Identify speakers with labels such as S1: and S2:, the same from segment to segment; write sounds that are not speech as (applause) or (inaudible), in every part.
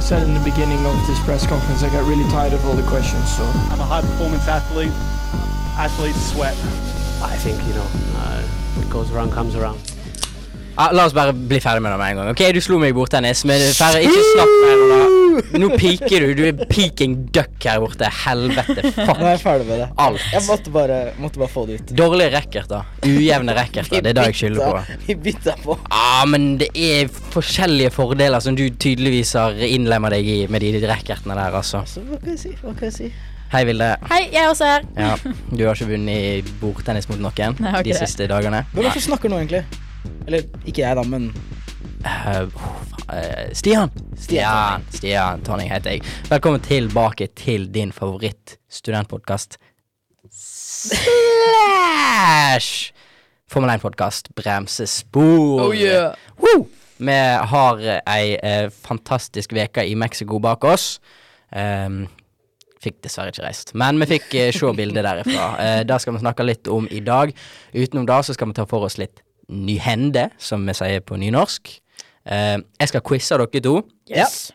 S1: said in the beginning of this press conference, I got really tired of all the questions. So
S2: I'm a high performance athlete. Athletes sweat.
S3: I think, you know, uh, what goes around comes around.
S4: Ja, Ah, la oss bare bli ferdig med det med en gang. Ok, Du slo meg i bordtennis, men ferdig, ikke snakk mer om det. Nå piker du. Du er peaking duck her borte. Helvete.
S5: Nå er jeg
S4: Fuck
S5: ferdig med det.
S4: alt.
S5: Jeg måtte bare, måtte bare få det ut.
S4: Dårlige racketer. Ujevne racketer. Det er det jeg skylder på.
S5: Vi bytta på.
S4: Ja, men det er forskjellige fordeler som du tydeligvis har innlemma deg i med de rackertene der, altså.
S5: Så hva kan jeg si? Hva kan jeg si?
S4: Hei, Vilde.
S6: Hei, jeg er også her.
S4: Ja, du har ikke vunnet i bordtennis mot noen
S6: Nei, jeg har
S4: de
S6: ikke det.
S4: siste dagene?
S5: Hvem er det som snakker nå, egentlig? Eller ikke jeg, da, men
S4: Eh, oh, eh, Stian. Stian Stian Tonning heter jeg. Velkommen tilbake til din favoritt-studentpodkast. Slash Formel 1-podkast Bremsespor.
S6: Oh yeah.
S4: Woo! Vi har eh, ei eh, fantastisk veke i Mexico bak oss. Ehm, fikk dessverre ikke reist, men vi fikk eh, se bildet derifra.
S5: (laughs)
S4: Eh, det skal vi snakke litt om i dag. Utenom det så skal vi ta for oss litt nyhende, som vi sier på nynorsk. Eh, jeg skal quize dere to,
S6: Yes.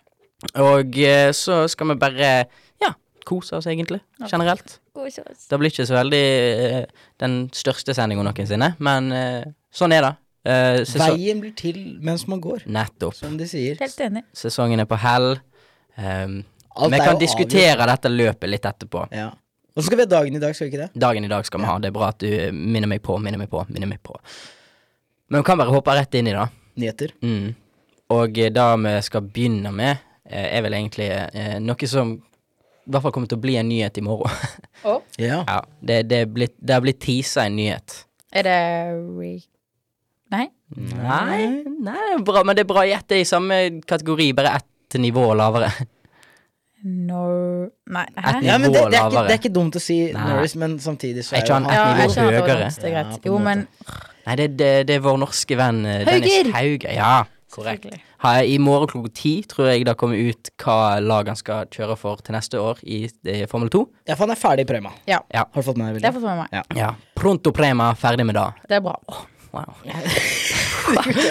S4: og eh, så skal vi bare ja, kose oss egentlig, generelt. Det blir ikke så veldig eh, den største sendinga noensinne, men eh, sånn er det. Eh, sesong-
S5: Veien blir til mens man går,
S4: Nettopp.
S5: som de sier.
S6: Helt enig.
S4: Sesongen er på hell. Um,
S5: Alt
S4: vi
S5: er
S4: kan
S5: jo
S4: diskutere dette løpet litt etterpå.
S5: Ja. Og så skal vi ha dagen i dag, skal vi ikke det?
S4: Dagen i dag skal vi ha. Det er bra at du eh, minner meg på, minner meg på, minner meg på. Men vi kan bare hoppe rett inn i det.
S5: Nyheter.
S4: Mm. Og eh, det vi skal begynne med, eh, er vel egentlig eh, noe som i hvert fall kommer til å bli en nyhet i morgen. (laughs)
S5: Ja.
S4: ja, det, det, er blitt, det har blitt teasa en nyhet.
S6: Er det re... Nei?
S4: Nei, nei det er bra, men det er bra gjett. Det er i samme kategori, bare ett nivå lavere.
S6: No... Nei. Hæ?
S4: Et
S5: ja men det, det, er ikke,
S4: Nivå
S5: det er ikke dumt å si
S4: Nei.
S5: Norris, men samtidig så
S4: Er
S5: er
S4: ikke
S5: jo
S4: han-
S6: Ja,
S4: nivå
S6: jeg skjønner at det var
S4: høyere.
S6: dansk, det er
S5: Ja,
S6: greit.
S5: på en
S6: Jo,
S5: måte.
S6: men
S4: Nei, det, det, det er vår norske venn eh, Dennis
S6: Hauger!
S4: Hauger. Ja, korrekt.
S6: Selvfølgelig.
S4: Ha, I morgen klokka ti tror jeg det kommer ut hva lag han skal kjøre for til neste år i, eh, Formel 2.
S5: Ja, for han er ferdig i prøma.
S6: Ja.
S4: Ja.
S5: Har du fått med deg
S6: Det
S5: bildet?
S6: får jeg meg.
S4: Ja. Pronto prema, ferdig med det.
S6: Det er bra.
S4: Wow.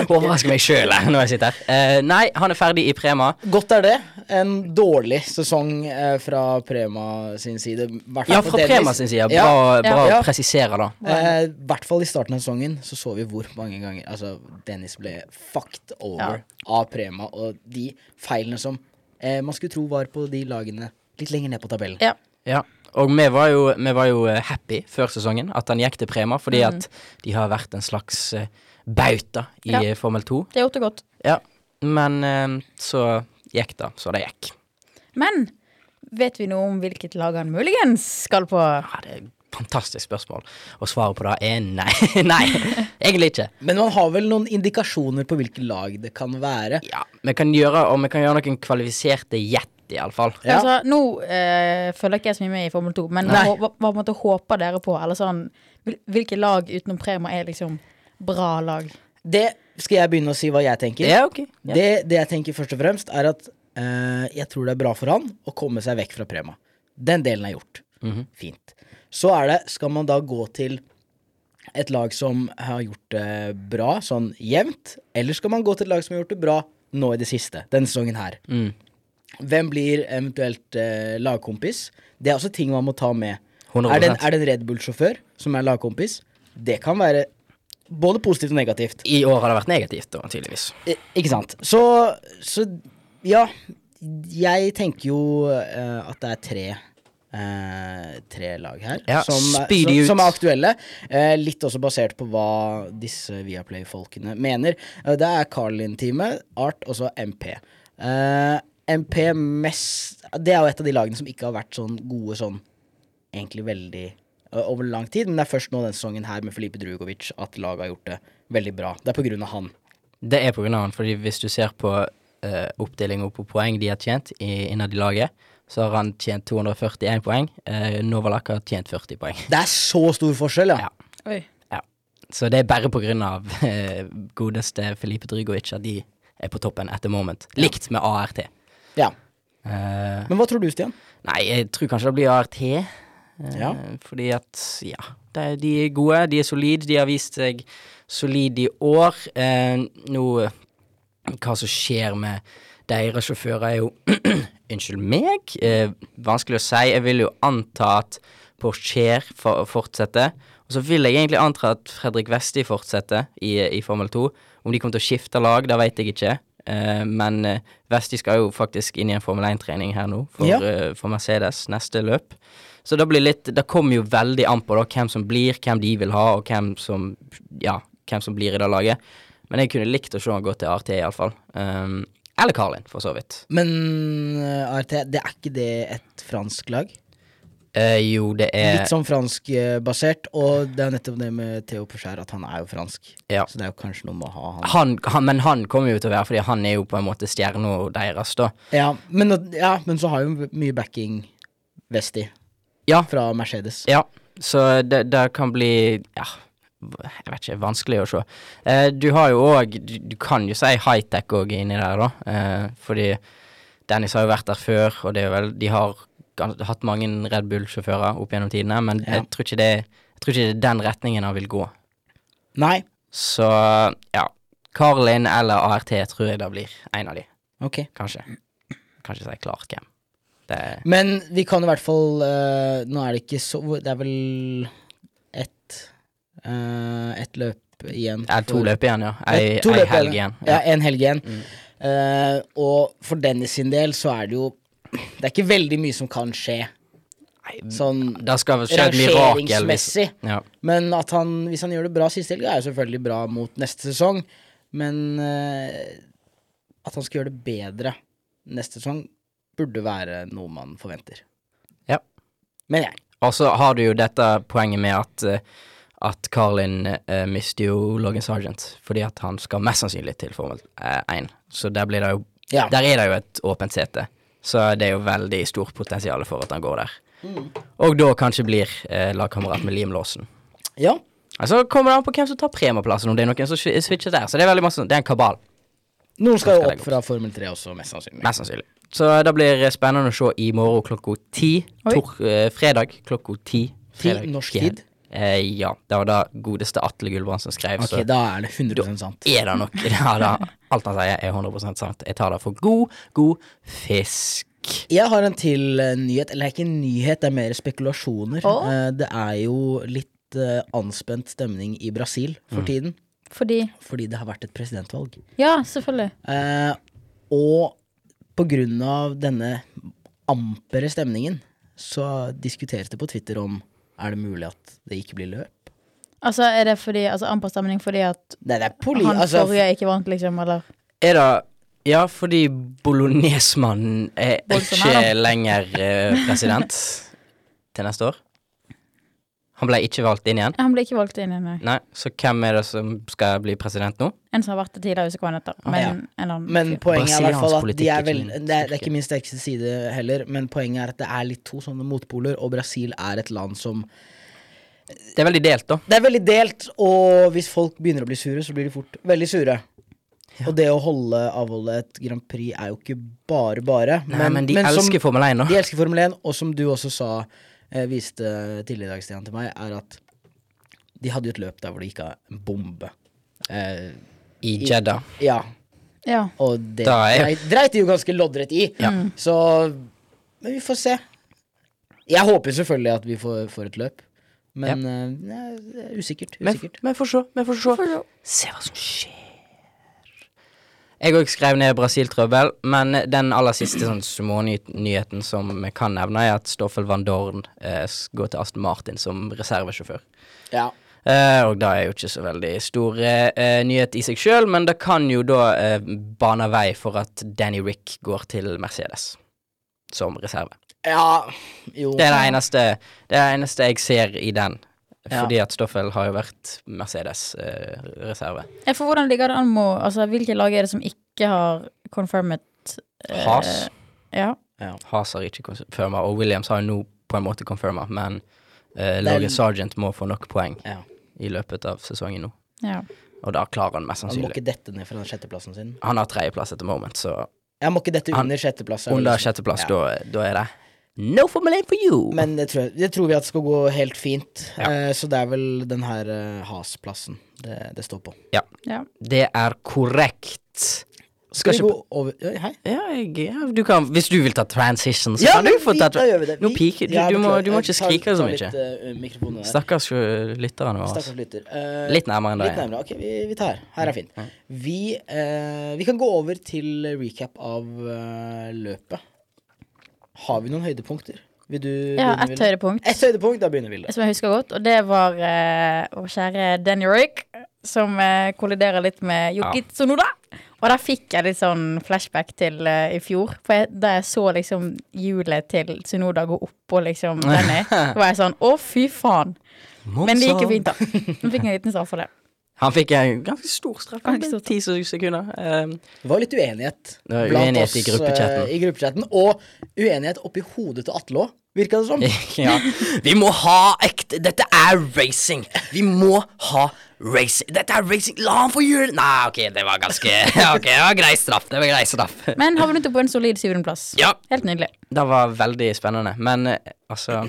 S4: Overrasker meg sjøl når jeg sitter her. Eh, nei, han er ferdig i prema.
S5: Godt er det. En dårlig sesong eh, fra Prema sin side. hvert fall
S4: Ja,
S5: for
S4: fra
S5: delvis.
S4: prema sin side.
S5: Ja.
S4: Bra,
S6: Ja.
S4: bra
S5: Ja.
S4: å presisere, da.
S5: Eh, I hvert fall i starten av sesongen så så vi hvor mange ganger Altså, Dennis ble fucked over av Prema og de feilene som eh, man skulle tro var på de lagene litt lenger ned på tabellen.
S6: Ja.
S4: Ja, og vi var jo, vi var jo eh, happy før sesongen at han gikk til prema, fordi at de har vært en slags eh, bauta i
S6: Ja.
S4: eh, Formel 2.
S6: Det er gjort og godt.
S4: Ja, men eh, så gikk det, så det gikk.
S6: Men vet vi noe om hvilket lag han muligens skal på?
S4: Ja, det er et fantastisk spørsmål, og svaret på det er nei. (laughs) nei, egentlig ikke.
S5: Men man har vel noen indikasjoner på hvilke lag det kan være.
S4: Ja, vi kan gjøre, og vi kan gjøre noen kvalifiserte gjett, iallfall.
S5: Ja.
S6: Altså, nå eh, følger ikke jeg så mye med i Formel 2, men hva, hva, hva måtte håper dere på? Eller sånn, hvil- hvilke lag utenom Prema er liksom bra lag?
S5: Det skal jeg begynne å si hva jeg tenker.
S4: Ja, ok. Ja.
S5: Det, det jeg tenker først og fremst, er at eh, jeg tror det er bra for han å komme seg vekk fra Prema. Den delen er gjort. Fint. Så er det, skal man da gå til et lag som har gjort det bra, sånn jevnt, eller skal man gå til et lag som har gjort det bra nå i det siste, denne sesongen her?
S4: Mm.
S5: Hvem blir eventuelt eh, lagkompis? Det er også ting man må ta med.
S4: 100%.
S5: Er det, en, er det en Red Bull-sjåfør som er lagkompis? Det kan være både positivt og negativt.
S4: I år har det vært negativt, da, tydeligvis.
S5: Eh, Ikke sant. Så, så ja. Jeg tenker jo eh, at det er tre eh, tre lag her
S4: Ja,
S5: som, er-
S4: spyr de
S5: som,
S4: ut.
S5: som er aktuelle. Eh, litt også basert på hva disse Viaplay-folkene mener. Eh, det er Carlin-teamet, Art og så MP. Eh, MP mest Det er jo et av de lagene som ikke har vært sånn gode sånn egentlig veldig ø, over lang tid, men det er først nå denne sesongen her med Filipe Drugovic at laget har gjort det veldig bra. Det er på grunn av han.
S4: Det er på grunn av han, fordi hvis du ser på eh, oppdelinga på poeng de har tjent i, innad i laget, så har han tjent 241 poeng. Uh, Novalak har tjent 40 poeng.
S5: Det er så stor forskjell, ja.
S4: Ja.
S6: Oi.
S4: Så det er bare på grunn av (laughs) eh, godeste Felipe Drygovic at de er på toppen at the moment. Likt med ART.
S5: ja.
S4: Eh,
S5: Men hva tror du, Stian?
S4: nei, jeg tror kanskje det blir ART. eh,
S5: Ja.
S4: Fordi at, ja. det- De er gode, de er solide, de har vist seg solide i år. Eh, nå eh, Hva som skjer med Deres sjåfører er jo Unnskyld meg? Eh, vanskelig å si. Jeg vil jo anta at Porcher fortsetter. Og så vil jeg egentlig anta at Fredrik Westi fortsetter i, i Formel 2. Om de kommer til å skifte lag, det vet jeg ikke. Eh, men eh, Westi skal jo faktisk inn i en Formel 1-trening her nå, for,
S5: Ja.
S4: eh, for Mercedes neste løp. Så det blir litt Det kommer jo veldig an på da, hvem som blir, hvem de vil ha, og hvem som Ja, hvem som blir i det laget. Men jeg kunne likt å se han gå til RT, iallfall. Um, eller Carlin, for så vidt.
S5: Men eh, RT, det er ikke det et fransk lag?
S4: Eh, jo, det er
S5: Litt sånn franskbasert, og det er jo nettopp det med Theo Porcher, at han er jo fransk.
S4: Ja.
S5: Så det er jo kanskje noe med å ha han.
S4: han, han, Men han kommer jo til å være, fordi han er jo på en måte stjerna deres, da.
S5: Ja men, at- ja, men så har jo mye backing Vesti
S4: Ja.
S5: fra Mercedes.
S4: Ja, så det, det kan bli Ja, jeg vet ikke. Vanskelig å se. Eh, du har jo òg du, du kan jo si high-tech òg inni der, da. Eh, fordi Dennis har jo vært der før, og det er vel De har gan- hatt mange Red Bull-sjåfører opp gjennom tidene, men
S5: Ja.
S4: jeg, tror ikke det, jeg tror ikke det er den retningen han vil gå.
S5: Nei,
S4: Så ja. Carlin eller ART tror jeg det blir en av de,
S5: ok.
S4: kanskje. Kanskje si klart hvem. Det er
S5: Men vi kan i hvert fall eh, Nå er det ikke så Det er vel ett eh, Ett løp igjen.
S4: eh, to
S5: for-
S4: løp igjen, ja.
S5: Ja,
S4: Ei,
S5: to
S4: ei
S5: løp
S4: helg igjen. Mm.
S5: Ja, en helg igjen. Eh, og for Dennis sin del så er det jo Det er ikke veldig mye som kan skje. Sånn
S4: Det skal vel skje et mirakel. liksom. hvis-
S5: rangeringsmessig.
S4: Ja.
S5: Men at han, hvis han gjør det bra siste helg, er jo selvfølgelig bra mot neste sesong. Men eh, at han skal gjøre det bedre neste sesong, burde være noe man forventer.
S4: Ja.
S5: Men jeg.
S4: Og så har du jo dette poenget med at, eh, at Carlin eh, mister jo Logan Sergeant, fordi at han skal mest sannsynlig til Formel eh, 1. Så der, blir det jo,
S5: Ja.
S4: der er det jo et åpent sete. Så det er jo veldig stort potensial for at han går der.
S5: Mm.
S4: Og da kanskje blir eh, lagkamerat med Liam Lawson.
S5: Ja.
S4: Altså kommer det an på hvem som tar premieplassen, om det er noen som swi- switcher der. Så det er veldig masse sånn. Det er en kabal,
S5: Noen skal
S4: Skal
S5: jo
S4: det gå?
S5: opp fra Formel 3 også, mest sannsynlig.
S4: mest sannsynlig. Så det blir spennende å se i morgen klokka ti.
S6: Oi.
S4: Tor, eh, fredag klokka ti.
S5: Ti
S4: Fredag,
S5: norsk
S4: fjerde-
S5: tid.
S4: Eh, ja, det var da godeste Atle Gulbrandsen skrev,
S5: Ok,
S4: så
S5: da er det 100 sant.
S4: er det nok (laughs) ja, da, Alt han sier, er 100 sant. Jeg tar det for god, god fisk.
S5: Jeg har en til eh, nyhet. Eller det er ikke en nyhet, det er mer spekulasjoner.
S6: Å?
S5: Eh, det er jo litt eh, anspent stemning i Brasil
S4: Mm.
S5: for tiden.
S6: Fordi
S5: Fordi det har vært et presidentvalg.
S6: Ja, selvfølgelig.
S5: Eh, og på grunn av denne ampere stemningen, så diskuteres det på Twitter om er det mulig at det ikke blir løp.
S6: Altså, er det fordi Altså, amper stemning fordi at
S5: Nei, det er poli...
S6: han
S5: Altså,
S6: forrige ikke vant, liksom, eller
S4: Er det Ja, fordi bolognesmannen er ikke
S6: Bolsonaro.
S4: lenger eh, president (laughs) til neste år. Han ble ikke valgt inn igjen.
S6: Han ble ikke valgt inn i en,
S4: Nei, så hvem er det som skal bli president nå?
S6: en som har vært det tidligere, husker hva han heter. Men
S5: Ah, Ja.
S6: en eller annen
S5: men
S6: fyr.
S5: poenget er i hvert fall at
S4: Brasiliansk
S5: de
S4: politikk
S5: er
S4: er
S5: vel,
S4: ikke min
S5: det, er, det er
S4: styrke.
S5: ikke min sterkeste side heller, men poenget er at det er litt to sånne motpoler, og Brasil er et land som
S4: Det er veldig delt, da.
S5: Det er veldig delt, og hvis folk begynner å bli sure, så blir de fort veldig sure. Og det å holde, avholde et Grand Prix er jo ikke bare bare.
S4: Nei, men, de
S5: som-
S4: elsker Formel 1 nå.
S5: De elsker Formel 1, og som du også sa, eh, viste tidligere i dag, Stian, til meg, er at de hadde jo et løp der hvor det gikk av en bombe. Eh,
S4: I Jeddah.
S5: ja,
S6: Ja.
S5: og det
S4: Da er-
S5: dreit, dreit de jo ganske loddrett i. Så Men vi får se. Jeg håper jo selvfølgelig at vi får, får et løp, men eh, nei, det er usikkert.
S4: Men,
S5: usikkert.
S4: men få se, men få se. Se hva som skjer. Jeg òg skrev ned Brasil-trøbbel, men den aller siste sånn smånyheten som vi kan nevne, er at Stoffel van Dorn eh, s- går til Aston Martin som reservesjåfør.
S5: Ja.
S4: Eh, og det er jo ikke så veldig stor eh, nyhet i seg sjøl, men det kan jo da eh, bane vei for at Danny Rick går til Mercedes som reserve.
S5: ja. Jo.
S4: Det er det eneste, det er det eneste jeg ser i den.
S5: Ja.
S4: Fordi at Stoffel har jo vært eh, Mercedes-reserve.
S6: Ja, For hvordan ligger det an med Altså, hvilke lag er det som ikke har confirmet eh,
S4: Haas.
S6: Ja.
S4: Haas har ikke confirma, og Williams har jo nå på en måte confirma, men eh,
S5: Den-
S4: Logan Sergeant må få nok poeng
S5: Ja.
S4: i løpet av sesongen nå.
S6: ja.
S4: Og da klarer han mest
S5: Han må
S4: sannsynlig.
S5: ikke dette ned fra den sjetteplassen sin.
S4: Han har tredjeplass etter moment, så
S5: Jeg må ikke dette
S4: Han-
S5: under sjetteplass. er vel
S4: under
S5: liksom-
S4: sjetteplass,
S5: Ja.
S4: da, da er det No Formel 1 for you!
S5: Men det tror, jeg, det tror vi at skal gå helt fint.
S4: Ja.
S5: Eh, så det er vel den her eh, Has-plassen det, det står på.
S4: ja,
S6: ja.
S4: det er korrekt. Skal ikke
S5: vi gå over Oi, Hei.
S4: Ja, jeg, ja, du kan, hvis du vil ta transition, så kan du
S5: men
S4: få
S5: vi-
S4: ta
S5: da gjør vi det.
S4: Nå
S5: Vi-
S4: piker du.
S5: Ja,
S4: Du må,
S5: beklager.
S4: du må
S5: Jeg
S4: ikke
S5: tar-
S4: skrike så
S5: tar
S4: mye.
S5: Litt, eh, mikrofonen der.
S4: Stakkars eh, lytterne våre.
S5: Stakkars lytter. Eh,
S4: Litt nærmere enn
S5: Litt
S4: deg.
S5: nærmere. Ok, vi, vi tar. Her er fin. Vi, eh, vi kan gå over til recap av eh, løpet. Har vi noen høydepunkter? Vil du
S6: Jeg har
S5: begynne,
S6: ett
S5: Vilde?
S6: høydepunkt
S5: Ett høydepunkt, da begynner Vilde.
S6: som jeg husker godt, og det var eh, vår kjære Danny Rick, som eh, kolliderer litt med Yuki Tsunoda. Og der fikk jeg litt sånn flashback til eh, i fjor. For jeg, da jeg så liksom hjulet til Tsunoda gå opp og
S4: (laughs)
S6: liksom Danny, da var jeg sånn å, fy faen. Men det gikk jo fint, da. Han fikk en liten straff for det.
S4: Han fikk en ganske stor straff. Han
S6: Ganske
S4: ble
S6: stor
S4: Ti sekunder.
S5: (laughs)
S4: Um,
S5: Det var litt uenighet
S4: Det var uenighet i
S5: eh,
S4: gruppechatten.
S5: i gruppechatten. Og uenighet oppi hodet til Atle òg, virka
S4: (laughs)
S5: det som.
S4: ja. Vi må ha ekte Dette er racing! Vi må ha racing. Dette er racing. La han få gjøre det! Nei, ok, det var ganske (laughs) Ok, det var grei straff. Det var grei straff.
S6: Men havnet på en solid syvendeplass.
S4: Ja.
S6: Helt nydelig.
S4: Det var veldig spennende. Men eh,
S5: (clears throat)
S4: altså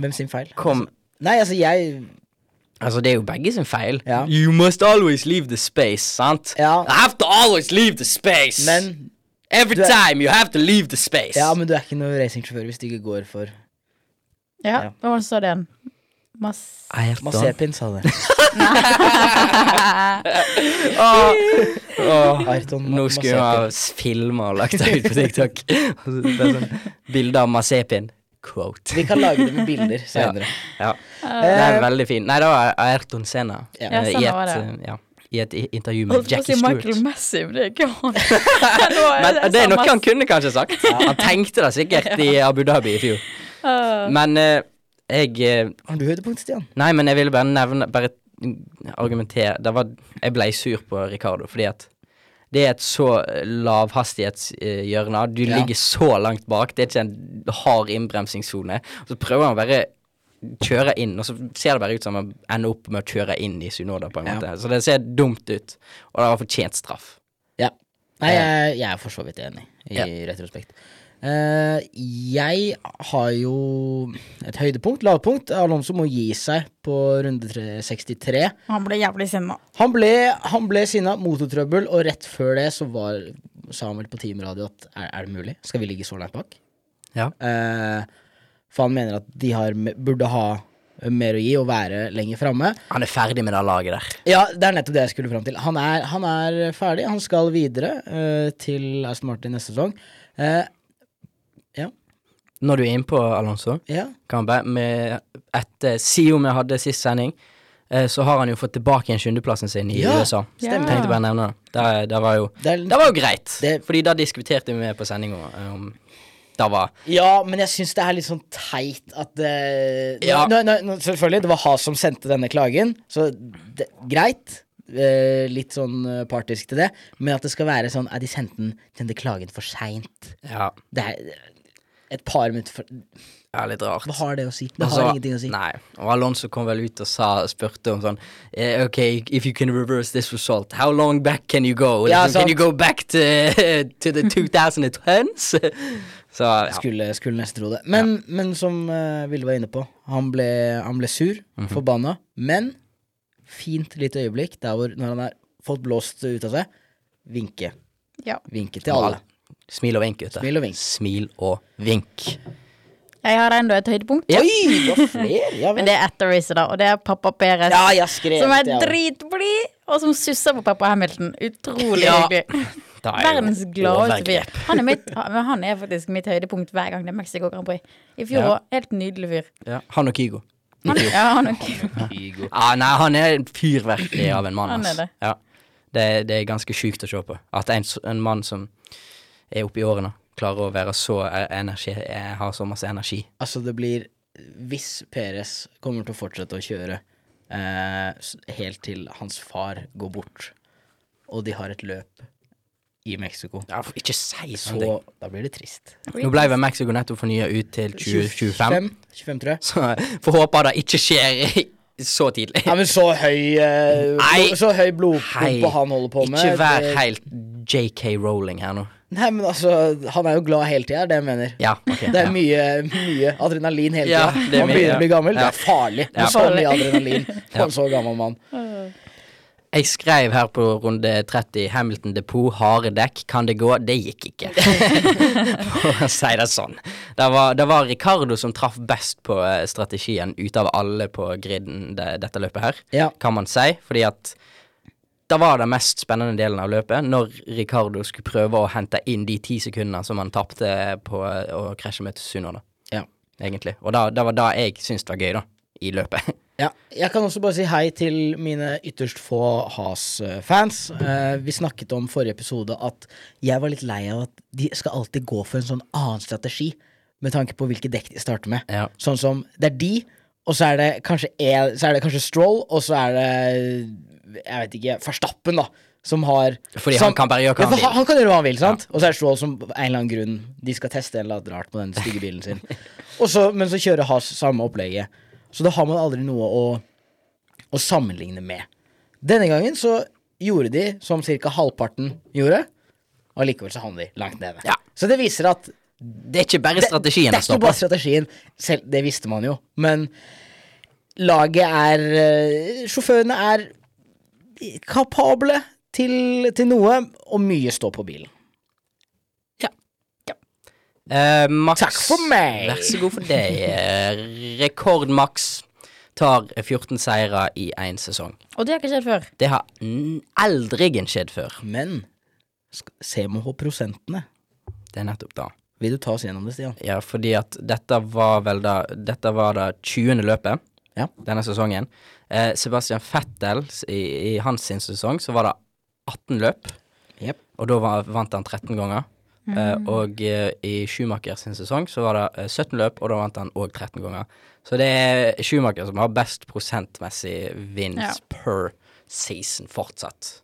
S5: Hvem sin feil?
S4: Kom
S5: Nei, altså, jeg
S4: Altså, det er jo begge sin feil.
S5: Ja.
S4: You must always leave the space, sant?
S5: Ja.
S4: I have to always leave the space!
S5: Men,
S4: Every
S5: du er-
S4: time you have to leave the space!
S5: ja, men du er ikke noe racingsjåfør hvis du ikke går for
S4: Sånn.
S5: Ja.
S6: Ja, Hva var det som sa det igjen? Mas...
S5: Masepin, sa det.
S6: (laughs)
S5: (laughs) Ayrton
S4: Nå skulle hun ha s- filma og lagt det ut på
S5: (laughs)
S4: TikTok. Og så det er sånn Bilde av Masepin. Quote.
S5: Vi kan lage det med bilder Eh, seinere.
S4: (laughs) Ja. Det er veldig fin. Nei, det var Ayrton Senna.
S5: Ja.
S4: Eh,
S6: Ja,
S4: I,
S6: Senna var
S4: et,
S6: det.
S4: eh, ja, I et i- intervju med
S6: Holdt på å si
S4: Jackie Stewart.
S6: Michael Massive, det er ikke han. (laughs) Men nå
S4: Men eh,
S6: jeg
S4: det er
S6: sa
S4: noe
S6: Mas-
S4: han kunne kanskje sagt. Han tenkte det
S6: (laughs)
S4: sikkert i Abu Dhabi i fjor.
S6: Ah.
S4: Men eh, jeg eh,
S5: Har du høydepunkt, Stian?
S4: Nei, men jeg ville bare nevne Bare argumentere det var, Jeg ble sur på Ricardo fordi at det er et så lavhastighetshjørne. Du
S5: Ja.
S4: ligger så langt bak. Det er ikke en hard innbremsingssone. Og Så prøver han å bare kjøre inn, og så ser det bare ut som han ender opp med å kjøre inn i Sunoda, på en
S5: Ja.
S4: måte. Så det ser dumt ut. Og det var fortjent straff.
S5: Ja. Nei, jeg, jeg er for så vidt enig, i
S4: Ja.
S5: retrospekt. Eh, jeg har jo et høydepunkt, lavpunkt. Alonso må gi seg på runde tre- 63.
S6: Han ble jævlig sinna.
S5: Han ble, han ble sinna, motortrøbbel, og rett før det så var Samuel på Team Radio at er, er det mulig? Skal vi ligge så langt bak?
S4: Ja.
S5: Eh, for han mener at de har, me- burde ha mer å gi og være lenger framme.
S4: Han er ferdig med det laget der.
S5: Ja, det er nettopp det jeg skulle fram til. Han er, han er ferdig. Han skal videre eh, til Aston Martin neste sesong. Eh,
S4: Når du er innpå, Alonso,
S5: ja.
S4: kan bare med etter Sio vi hadde sist sending, eh, så har han jo fått tilbake igjen sjuendeplassen sin i
S5: Ja,
S4: USA.
S6: stemmer.
S4: Tenkte bare å nevne det. Det, det var jo
S5: Det er,
S4: Det var jo greit,
S5: Det-
S4: Fordi da diskuterte vi på sendinga eh, om Det var
S5: ja, men jeg syns det er litt sånn teit at eh, nå-
S4: Ja.
S5: nå, nå, nå, Selvfølgelig, det var Has som sendte denne klagen, så det, greit. Eh, litt sånn eh, partisk til det. Men at det skal være sånn Er de sendte den, sendte klagen for seint?
S4: Ja,
S5: Det er et par minutter for
S4: ja litt rart.
S5: Hva har det å si? Det
S4: Altså,
S5: har ingenting å si.
S4: Nei. Og Alonso kom vel ut og sa, spurte om sånn eh, OK, if you can reverse this result, how long back can you go?
S5: Ja,
S4: Liksom,
S5: sant.
S4: can you go back to, to (laughs) the 2010s? (laughs) Så ja.
S5: Skulle, skulle nesten tro det. Men, men som eh, Vilde var inne på, han ble, han ble sur, forbanna. Men fint lite øyeblikk der hvor når han har fått blåst ut av seg, vinke.
S6: Ja.
S5: Vinke til alle.
S4: Smil og vink, gutter.
S5: Smil og vink.
S4: Smil og vink.
S6: Jeg har enda et høydepunkt,
S5: Oi, det var flere! Ja,
S6: men det er etter racet, da. Og det er pappa Perez,
S5: ja jeg skrev
S6: som er
S5: det, jeg også.
S6: dritblid, og som susser på pappa Hamilton. Utrolig
S4: Ja.
S6: hyggelig.
S4: Da er jo
S6: Verdens gladeste
S4: overgrep.
S6: fyr. Han er, mitt, (laughs) han, men han er faktisk mitt høydepunkt hver gang det er Mexico Grand Prix. I fjor
S4: Ja.
S6: òg. Helt nydelig fyr.
S4: Ja. Han og Kygo.
S6: Han, ja, han er
S4: Ja, nei, han er en fyrverkeri av en mann.
S6: Mm. Han er
S4: ass.
S6: det.
S4: Ja. Det, det er ganske sjukt å se på. At en, s- en mann som er oppe i årene, klarer å være så eh, energi, eh, har så masse energi.
S5: Altså, det blir Hvis Peres kommer til å fortsette å kjøre eh, s- helt til hans far går bort, og de har et løp i Mexico,
S4: Ja, for ikke si
S5: så da blir det trist.
S4: Nå ble vel Mexico nettopp fornya ut til 2025,
S5: 25 tror jeg.
S4: (laughs) så får håpe det ikke skjer så tidlig.
S5: Ja, men så høy eh,
S4: Nei.
S5: blod- Så høy blodpumpe han holder på med.
S4: ikke vær
S5: det-
S4: helt JK Rowling her nå.
S5: Nei, men altså, han er jo glad hele tida, det er det jeg mener.
S4: Ja, ok.
S5: Det er
S4: ja.
S5: mye, mye adrenalin hele
S4: Ja,
S5: tida.
S4: det er mye,
S5: man begynner
S4: ja.
S5: å bli gammel. Det
S4: Ja.
S5: er farlig med
S6: Ja.
S5: så mye adrenalin på en så gammel mann.
S4: Jeg skrev her på runde 30 Hamilton depot, harde dekk, kan det gå? Det gikk ikke. For å si det sånn. Det var, det var Ricardo som traff best på eh, strategien ut av alle på griden det, dette løpet her,
S5: Ja.
S4: kan man si. Fordi at det var den mest spennende delen av løpet, når Ricardo skulle prøve å hente inn de ti sekundene som han tapte på eh, å krasje med Sunoda,
S5: Ja.
S4: egentlig. Og da, det var det jeg syntes var gøy, da, i løpet. (laughs)
S5: Ja, jeg kan også bare si hei til mine ytterst få Has-fans. Eh, vi snakket om forrige episode at jeg var litt lei av at de skal alltid gå for en sånn annen strategi med tanke på hvilke dekk de starter med.
S4: Ja.
S5: Sånn som det er de, og så er det kanskje, en, så er det kanskje Stroll, og så er det jeg vet ikke, Verstappen, da. Som har
S4: Fordi
S5: som,
S4: han kan bare gjøre hva
S5: ja,
S4: han
S5: for
S4: vil.
S5: Han, han kan gjøre hva han vil, sant? Og så er det Stroll som av en eller annen grunn De skal teste en eller annen rart på den stygge bilen sin. Og så, men så kjører Has samme opplegget. Så da har man aldri noe å, å sammenligne med. Denne gangen så gjorde de som ca. halvparten gjorde, og likevel så havnet de langt nede.
S4: Ja.
S5: Så det viser at
S4: Det er ikke bare strategien det
S5: det, det er
S4: står
S5: ikke
S4: på.
S5: bare strategien. Selv, det visste man jo. Men laget er eh, Sjåførene er kapable til, til noe, og mye står på bilen.
S4: Eh, Max,
S5: Takk for meg.
S4: Vær så god for deg. Eh, Rekord-Max tar 14 seire i én sesong.
S6: Og det har ikke skjedd før.
S4: Det har n- aldri skjedd før.
S5: Men sk- se med på prosentene.
S4: Det er nettopp da.
S5: Vil du ta oss gjennom det, Stian?
S4: Ja, fordi at dette var vel da Dette var da 20. løpet
S5: Ja.
S4: denne sesongen. Eh, Sebastian Vettel, s- i, i hans sin sesong, så var det 18 løp.
S5: Jep.
S4: Og da var, vant han 13 ganger. Eh, og eh, i Schumacher sin sesong så var det eh, 17 løp, og da vant han òg 13 ganger. Så det er Schumacher som har best prosentmessig wins per season fortsatt.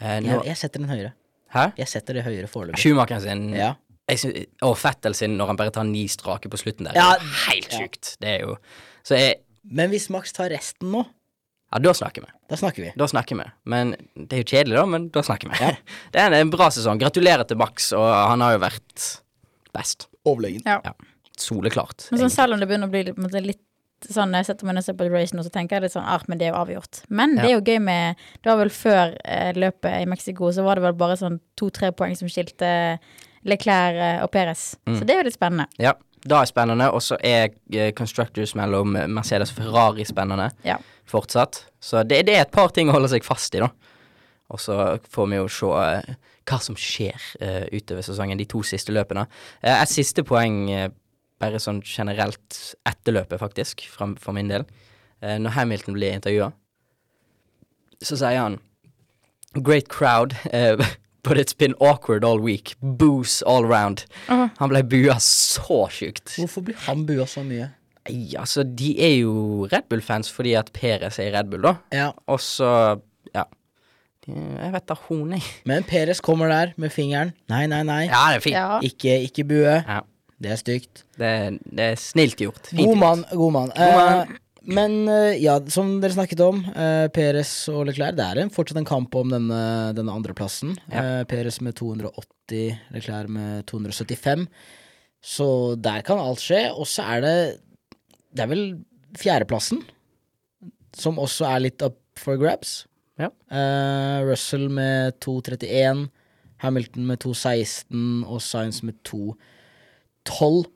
S4: Eh, nå,
S5: Jeg, jeg setter den høyere.
S4: hæ?
S5: Jeg setter det høyere foreløpig.
S4: Schumacher sin
S5: Ja.
S4: jeg synes, Og Fettel sin når han bare tar ni strake på slutten der.
S5: Ja,
S4: det er jo helt sjukt. Det er jo Så jeg
S5: Men hvis Max tar resten nå,
S4: Ja, da snakker vi.
S5: da snakker vi.
S4: Da snakker vi. Men det er jo kjedelig, da, men da snakker vi. (laughs) Det er en, en bra sesong. Gratulerer til Max, og han har jo vært best.
S5: Overlegen.
S6: Ja.
S4: Ja. Soleklart.
S6: Men sånn,
S4: egentlig.
S6: selv om det begynner å bli litt, på en måte litt sånn Når jeg setter meg ned og ser på Duration, så tenker jeg litt sånn ah, men det er jo avgjort. Men det er jo gøy med Det var vel før eh, løpet i Mexico, så var det vel bare sånn to-tre poeng som skilte Leclerc eh, og Perez.
S5: Mm.
S6: Så det er jo litt spennende.
S4: Ja, det er spennende. Og så er eh, Constructors mellom Mercedes og Ferrari spennende
S6: Ja.
S4: fortsatt. Så det, det er et par ting å holde seg fast i, da. Og så får vi jo se eh, hva som skjer eh, utover sesongen, de to siste løpene. Eh, et siste poeng, eh, bare sånn generelt etter løpet, faktisk, fra, for min del. Eh, når Hamilton blir intervjua, så sier han Great crowd, eh, (laughs) but it's been awkward all week. Boos all round. Han ble bua så sjukt.
S5: Hvorfor blir han bua så mye?
S4: Nei, altså, de er jo Red Bull-fans fordi at Perez er i Red Bull, da.
S5: Ja,
S4: Og så, ja De- Jeg vet da hun, jeg.
S5: Men Peres kommer der med fingeren. Nei, nei, nei.
S4: (laughs) Ja, det er fint.
S6: Ja.
S5: Ikke, ikke bue.
S4: Ja.
S5: Det er stygt.
S4: Det, er- det er snilt gjort. Fint
S5: God
S4: gjort.
S5: mann, god mann. Eh, men eh, ja, som dere snakket om, eh, Perez og Leclerc, det er en, fortsatt en kamp om denne, denne andreplassen. Eh, Perez med 280, Leclerc med 275. Så der kan alt skje. Og så er det Det er vel fjerdeplassen som også er litt up for grabs.
S4: Ja.
S5: Eh, Russell med 231, Hamilton med 216 og Science med 212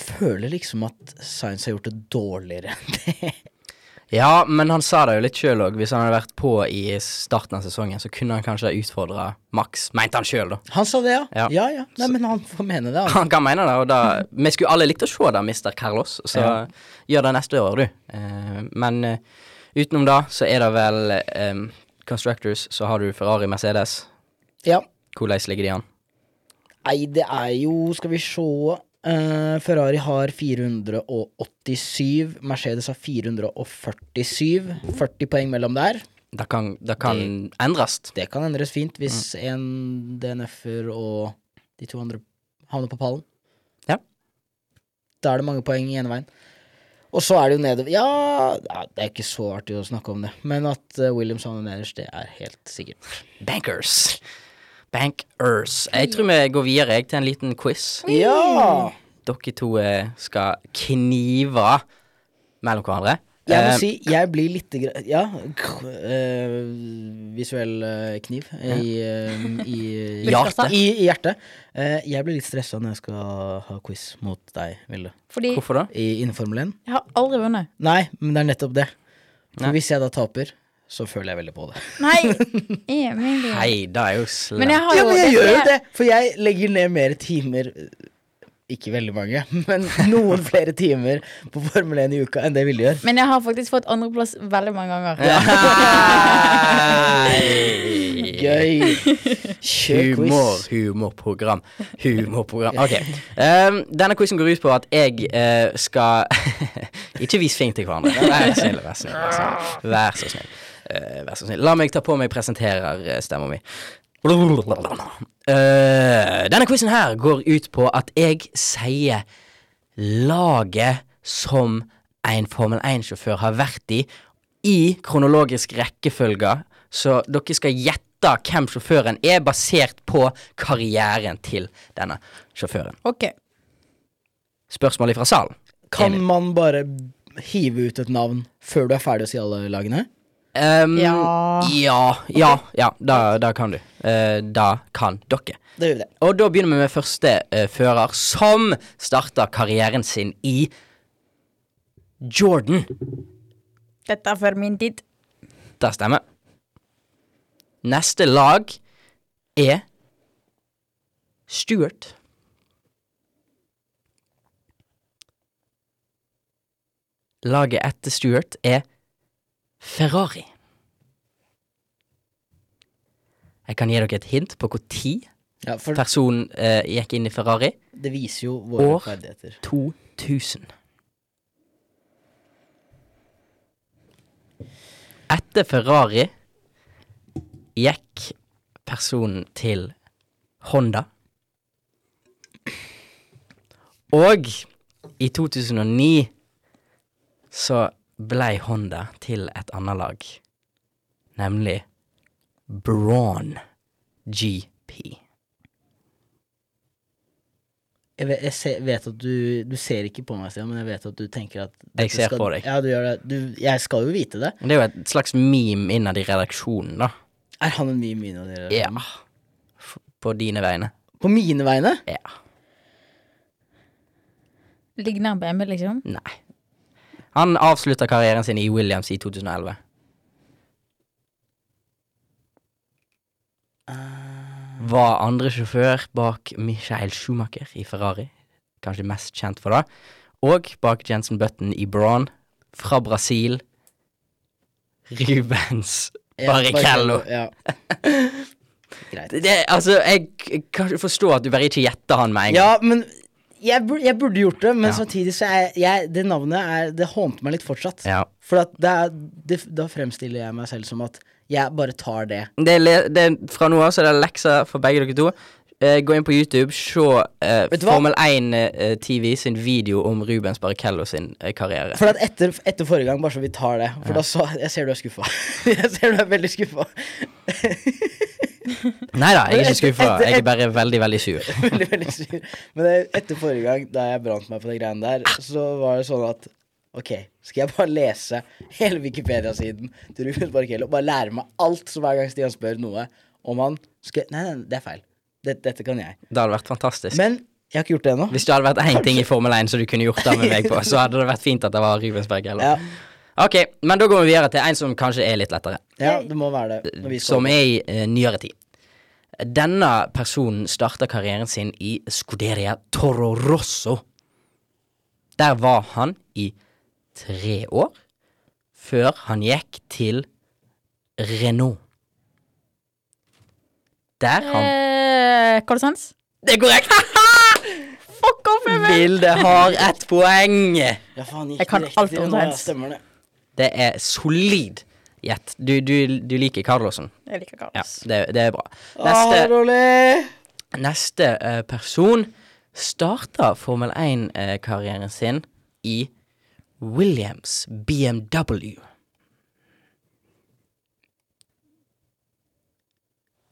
S5: føler liksom at Science har gjort det dårligere enn det.
S4: Ja, men han sa det jo litt sjøl òg. Hvis han hadde vært på i starten av sesongen, så kunne han kanskje utfordra Max, mente han sjøl, da.
S5: Han sa det, ja.
S4: Ja.
S5: Ja, ja. Nei, men han får mene det. Han.
S4: (laughs) Han kan mene det, og da Vi skulle alle likt å se det, mister Carlos, så gjør det neste år, du. Eh, men eh, utenom det, så er det vel eh, Constructors, så har du Ferrari Mercedes.
S5: Ja.
S4: Hvordan ligger de an?
S5: Nei, det er jo Skal vi se. eh, Ferrari har 487, Mercedes har 447. 40 poeng mellom der.
S4: Det kan, det kan endres.
S5: Det kan endres fint hvis
S4: Mm.
S5: en DNF-er og de to andre havner på pallen.
S4: Ja.
S5: Da er det mange poeng i ene veien. Og så er det jo nedover Ja, ja, det er ikke så artig å snakke om det, men at eh, Williams havner nederst, det er helt sikkert.
S4: Bankers. Bankers. Jeg tror vi går videre jeg, til en liten quiz.
S5: Ja!
S4: Dere to eh, skal knive mellom hverandre
S5: Jeg vil
S4: Eh,
S5: si jeg blir litt gre Ja, k- eh, visuell eh, kniv i, eh, i,
S4: (laughs) Hjertet.
S5: i, i hjertet. Eh, jeg blir litt stressa når jeg skal ha quiz mot deg, Vilde.
S6: Fordi
S4: Hvorfor da?
S5: I innen Formel 1.
S6: jeg har aldri vunnet.
S5: Nei, men det er nettopp det. For
S4: Nei.
S5: hvis jeg da taper, så føler jeg veldig på det.
S6: Nei!
S5: (laughs)
S6: Emil.
S4: Hei, det er jo slemt.
S6: Men jeg har
S5: Ja,
S6: jo
S5: men jeg
S6: det-
S5: gjør jo det! For jeg legger ned mer timer eh, Ikke veldig mange, (laughs) men noen flere timer på Formel 1 i uka enn det Vilde gjør.
S6: Men jeg har faktisk fått andreplass veldig mange ganger. (laughs)
S4: Nei.
S5: Gøy! Kjør
S4: Humor,
S5: quiz.
S4: humorprogram. Humorprogram. Ok. Ehm, denne quizen går ut på at jeg eh, skal (laughs) Ikke vis fing til hverandre. Vær snill, vær snill. Vær, snill. vær så snill. Eh, vær så snill. La meg ta på meg presentererstemma mi. Eh, denne quizen her går ut på at jeg sier laget som en Formel 1-sjåfør har vært i, i kronologisk rekkefølge. Så dere skal gjette hvem sjåføren er, basert på karrieren til denne sjåføren.
S6: Ok.
S4: Spørsmål fra salen.
S5: Kan
S4: Emil.
S5: man bare hive ut et navn før du er ferdig å si alle lagene?
S4: Ehm,
S6: Ja.
S4: Ja, ja, ja da, da kan du. Eh, da kan dere.
S5: Da gjør vi det.
S4: Og da begynner vi med første eh, fører som starta karrieren sin i Jordan.
S6: Dette er før min tid.
S4: Det stemmer. Neste lag er Stuart. Laget etter Stuart er Ferrari. Jeg kan gi dere et hint på når
S5: Ja, for
S4: personen eh, gikk inn i Ferrari.
S5: det viser jo våre
S4: År.
S5: ferdigheter.
S4: 2000. Etter Ferrari gikk personen til Honda. Og i 2009 så blei Honda til et annet lag, nemlig Braun GP.
S5: Jeg vet, jeg ser, vet at du, du ser ikke på meg, Stian, men jeg vet at du tenker at
S4: Jeg
S5: dette
S4: ser
S5: skal,
S4: på deg.
S5: Ja, du gjør det. Du, jeg skal jo vite det.
S4: Det er jo et slags meme innad i redaksjonen, da.
S5: Er han en mye mine av dere?
S4: Ja. Um, F- På dine vegne.
S5: På mine vegne?
S4: Ja.
S6: Ligner han på Emil, liksom?
S4: Nei. Han avslutta karrieren sin i Williams i 2011. Var andre sjåfør bak Michael Schumacher i Ferrari, kanskje mest kjent for det, og bak Jensen Button i Braun, fra Brasil, Rubens
S5: Ja,
S4: Barrichello.
S5: Ja.
S4: (laughs) Det, det- altså, jeg k- kan ikke forstå at du bare ikke gjetter han med en
S5: ja, men jeg burde, jeg burde gjort det, men
S4: Ja.
S5: samtidig så er jeg Det navnet er Det hånte meg litt fortsatt.
S4: Ja.
S5: For at det er, det, da fremstiller jeg meg selv som at jeg bare tar det.
S4: det er, le- det er fra nå av så er det lekser for begge dere to. Eh, gå inn på YouTube, se eh,
S5: Vet du hva?
S4: Formel 1 eh, TV sin video om Rubens Barrichello sin eh, karriere.
S5: For at etter, etter forrige gang, bare så vi tar det For da så Jeg ser du er skuffa. (laughs) jeg ser du er veldig skuffa. (laughs)
S4: Nei da, jeg er ikke
S5: Etter-
S4: skuffa.
S5: etter-
S4: Jeg er bare veldig, veldig sur.
S5: (laughs) veldig, veldig sur. Men eh, etter forrige gang, da jeg brant meg på de greiene der, så var det sånn at Ok, skal jeg bare lese hele Wikipedia-siden til Rubens Barrichello? Bare lære meg alt, så hver gang Stian spør noe om han skal Nei, nei, det er feil. Dette, dette kan jeg.
S4: Det hadde vært fantastisk.
S5: Men jeg har ikke gjort det ennå.
S4: Hvis det hadde vært én ting i Formel 1 som du kunne gjort det med meg på, så hadde det vært fint at det var Rubens Barrichello.
S5: Ja,
S4: Ok, men da går vi videre til en som kanskje er litt lettere.
S5: ja, det må være det. Når vi skal
S4: Mm. Som er i eh, nyere tid. Denne personen starta karrieren sin i Scuderia Toro Rosso. Der var han i tre år, før han gikk til Renault. Der han
S6: Eh, Carl Sands?
S4: Det er korrekt!
S6: Fuck off, Emil!
S4: Vilde har ett poeng.
S5: Ja, faen, gikk
S6: Jeg kan
S5: direkte
S6: alt
S5: til
S6: om
S5: nå, ja,
S6: dans.
S5: Stemmer det.
S4: Det er solid gjett. Du, du, du liker Carlosen.
S6: Jeg liker Carl.
S4: Ja, det, det er bra.
S5: Neste. Rolig!
S4: Neste eh, person starta Formel 1-karrieren sin i Williams BMW.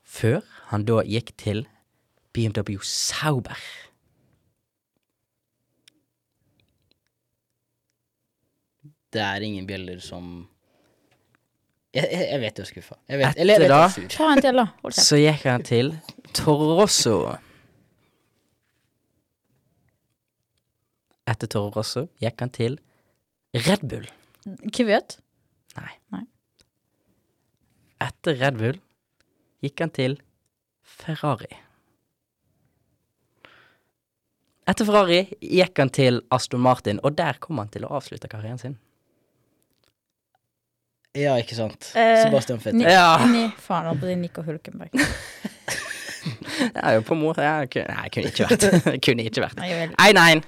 S4: Før han da gikk til BMW Sauber.
S5: det er ingen bjeller som Jeg, jeg, jeg vet du er skuffa. Jeg vet,
S4: Etter
S5: eller jeg vet
S4: da-
S5: du er sur.
S6: Ta en til, da. Hold kjeft.
S4: Så gikk han til Torrosso. Etter Torrosso gikk han til Red Bull.
S6: Kvyt?
S4: Nei.
S6: Nei.
S4: Etter Red Bull gikk han til Ferrari. Etter Ferrari gikk han til Aston Martin, og der kom han til å avslutte karrieren sin.
S5: Ja, ikke sant.
S6: Eh,
S5: Sebastian Fettel.
S6: Ni-
S4: Ja.
S6: Ni, faen, holdt på å si Nico Hulkenberg.
S4: Jeg er jo på mor... Jeg kunne, nei, jeg kunne ikke (laughs) vært Jeg kunne ikke vært
S6: Nei, jeg vil-
S4: 1-1.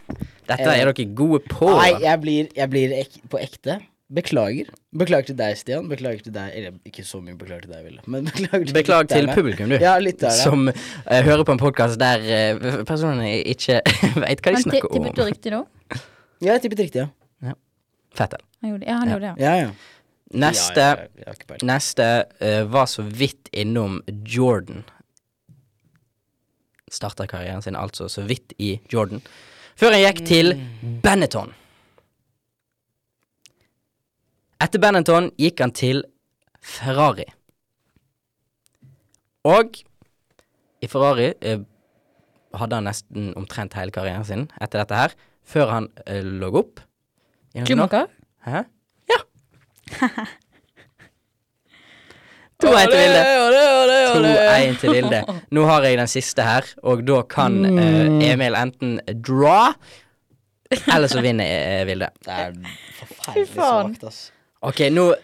S4: Dette er dere gode på.
S5: Nei, jeg blir, jeg blir ek på ekte. Beklager. Beklager til deg, Stian. Beklager til deg Eller ikke så mye beklager til deg, Ville. Men (laughs) beklager til
S4: Beklager til
S5: lytterne.
S4: publikum, du.
S5: Ja, lytterne.
S4: Som eh, hører på en podkast der eh, personene ikke (laughs) veit hva de
S6: Men ti-
S4: snakker
S6: tippet du
S4: om.
S6: riktig nå?
S5: Ja, jeg tippet riktig, ja.
S4: Fettel.
S6: Han gjorde, ja, han
S4: Ja.
S6: gjorde det, ja.
S5: Ja, ja.
S4: Neste,
S5: Ja, ja, ja, jeg har ikke peiling.
S4: neste eh, var så vidt innom Jordan. Starta karrieren sin altså så vidt i Jordan. Før han gikk til
S5: Mm.
S4: Benetton. Etter Benetton gikk han til Ferrari. Og i Ferrari eh, hadde han nesten omtrent hele karrieren sin etter dette her, før han eh, lå opp. Er dere nå?
S6: Schumacher?
S4: Hæ? Ja. (laughs) To en til Vilde. To en til Vilde. Nå har jeg den siste her, og da kan
S5: Mm.
S4: eh, Emil enten draw, eller så vinner eh, Vilde.
S5: Det er forferdelig
S6: Fy faen.
S5: svakt, ass.
S4: Ok, nå,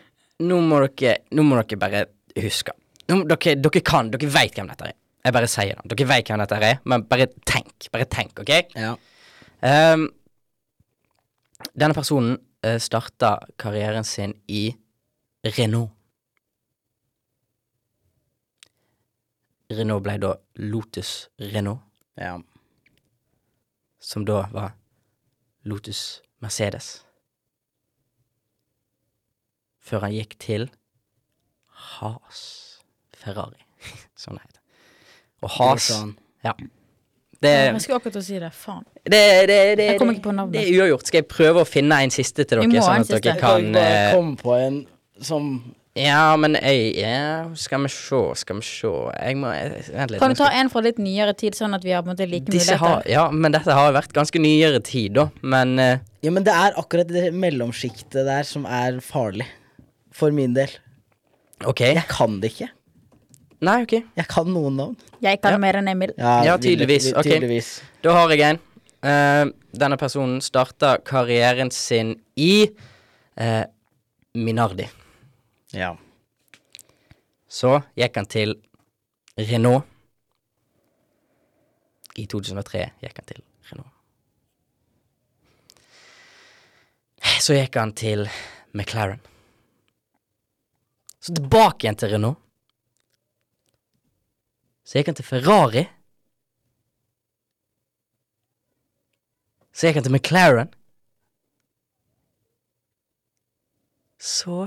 S4: nå, må dere, nå må dere bare huske. Nå, må- dere, dere kan, dere veit hvem dette er. Jeg bare sier det. Dere veit hvem dette er, men bare tenk. Bare tenk, OK?
S5: Ja.
S4: Ehm, denne personen uh, starta karrieren sin i Renault. Renault ble da Lotus Renault,
S5: ja.
S4: som da var Lotus Mercedes. Før han gikk til Has Ferrari, (laughs) som det heter. Og Has
S5: Grosjean.
S4: det,
S6: Jeg skulle akkurat til å si det. Faen.
S4: det, det, det,
S6: Jeg kom ikke på navnet.
S4: Det er uavgjort. Skal jeg prøve å finne en siste til
S6: Vi må
S4: dere,
S6: ha
S4: sånn
S6: en
S4: at dere
S6: siste.
S5: Kan
S4: kan
S5: vi bare
S4: eh,
S5: komme på en som
S4: Ja, men jeg ja, Skal vi se, skal vi se Jeg må jeg, Vent litt.
S6: Kan du
S4: nå skal-
S6: ta en fra litt nyere tid, sånn at vi har på en måte like
S4: disse har,
S6: muligheter?
S4: ja, men dette har vært ganske nyere tid, da. Men eh,
S5: Ja, men det er akkurat det mellomsjiktet der som er farlig. For min del.
S4: OK.
S5: Jeg kan det ikke.
S4: Nei, OK.
S5: Jeg kan noen navn.
S6: Jeg kan mer enn Emil.
S4: Ja, tydeligvis.
S5: vilde-
S4: Ok.
S5: tydeligvis.
S4: Da har jeg en. Eh, denne personen starta karrieren sin i eh, Minardi.
S5: Ja.
S4: Så gikk han til Renault. I 2003 gikk han til Renault. Så gikk han til McLaren. Så tilbake igjen til Renault. Så gikk han til Ferrari. Så gikk han til McLaren. Så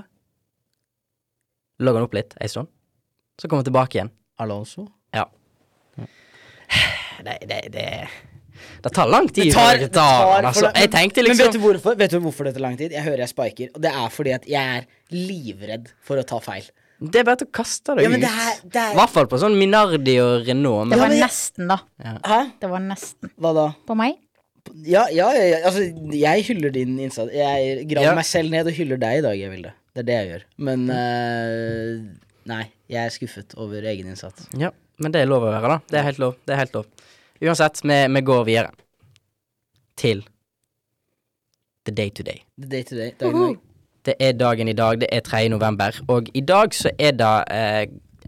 S4: lå han opp litt ei stund. Så kom han tilbake igjen.
S5: Alonso.
S4: Ja. Det, det, det Det tar lang tid.
S5: Det tar-
S4: før
S5: det tar
S4: han,
S5: for
S4: altså.
S5: lang-
S4: Jeg tenkte
S5: Men vet
S4: liksom
S5: du hvorfor Vet du hvorfor det tar lang tid? Jeg hører jeg spiker, og det er fordi at jeg er livredd for å ta feil.
S4: Det er bare å kaste det
S5: Ja, men
S4: ut.
S5: det er- det er-
S4: I hvert fall på sånn Minardi og Renault.
S6: Det
S4: Men
S5: Ja,
S6: var
S5: men jeg-
S6: nesten, da.
S5: Hæ?
S6: Det var nesten.
S5: Hva da?
S6: På meg?
S5: Ja, ja, ja, ja. altså, jeg hyller din innsats. Jeg graver
S4: Ja. Mm.
S5: meg selv ned og hyller deg i dag, jeg vil det. Det er det jeg gjør. Men eh, nei, jeg er skuffet over egen innsats.
S4: ja, men det er lov å være, da. Det er helt lov. Det er helt lov. Uansett, vi, vi går videre. Til the day to day.
S5: The day to day. Dagen i dag.
S4: Det er dagen i dag. Det er 3. november. Og i dag så er det eh,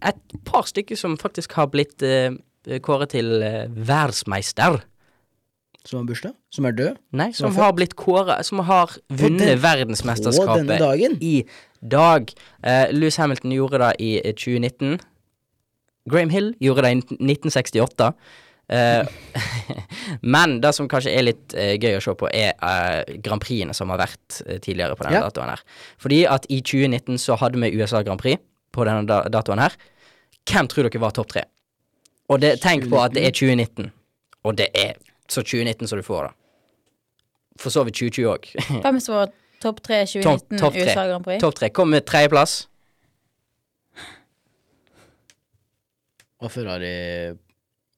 S4: et par stykker som faktisk har blitt eh, kåret til eh, verdensmeister.
S5: Som har bursdag? Som er død?
S4: Nei,
S5: Som
S4: som
S5: har
S4: har blitt kåret Som har vunnet
S5: den- På denne
S4: verdensmesterskapet
S5: dagen?
S4: i dag. Eh, Lewis Hamilton gjorde det i eh, 2019. Graham Hill gjorde det i 1968. Eh, (laughs) men det som kanskje er litt eh, gøy å se på, er eh, Grand Prixene som har vært eh, tidligere på denne
S5: Ja.
S4: datoen her. Fordi at i 2019 så hadde vi USA Grand Prix på denne da datoen her. Hvem tror dere var topp tre? Og det, tenk på at det er 2019. Og det er så 2019 som du får, da. For så vidt 2020 òg.
S6: Hvem som var Topp tre
S4: Topp
S6: 2019
S4: topp
S6: USA
S4: Mm. tre.
S6: Grand Prix.
S4: Topp tre. Kom med tredjeplass.
S5: Og Ferrari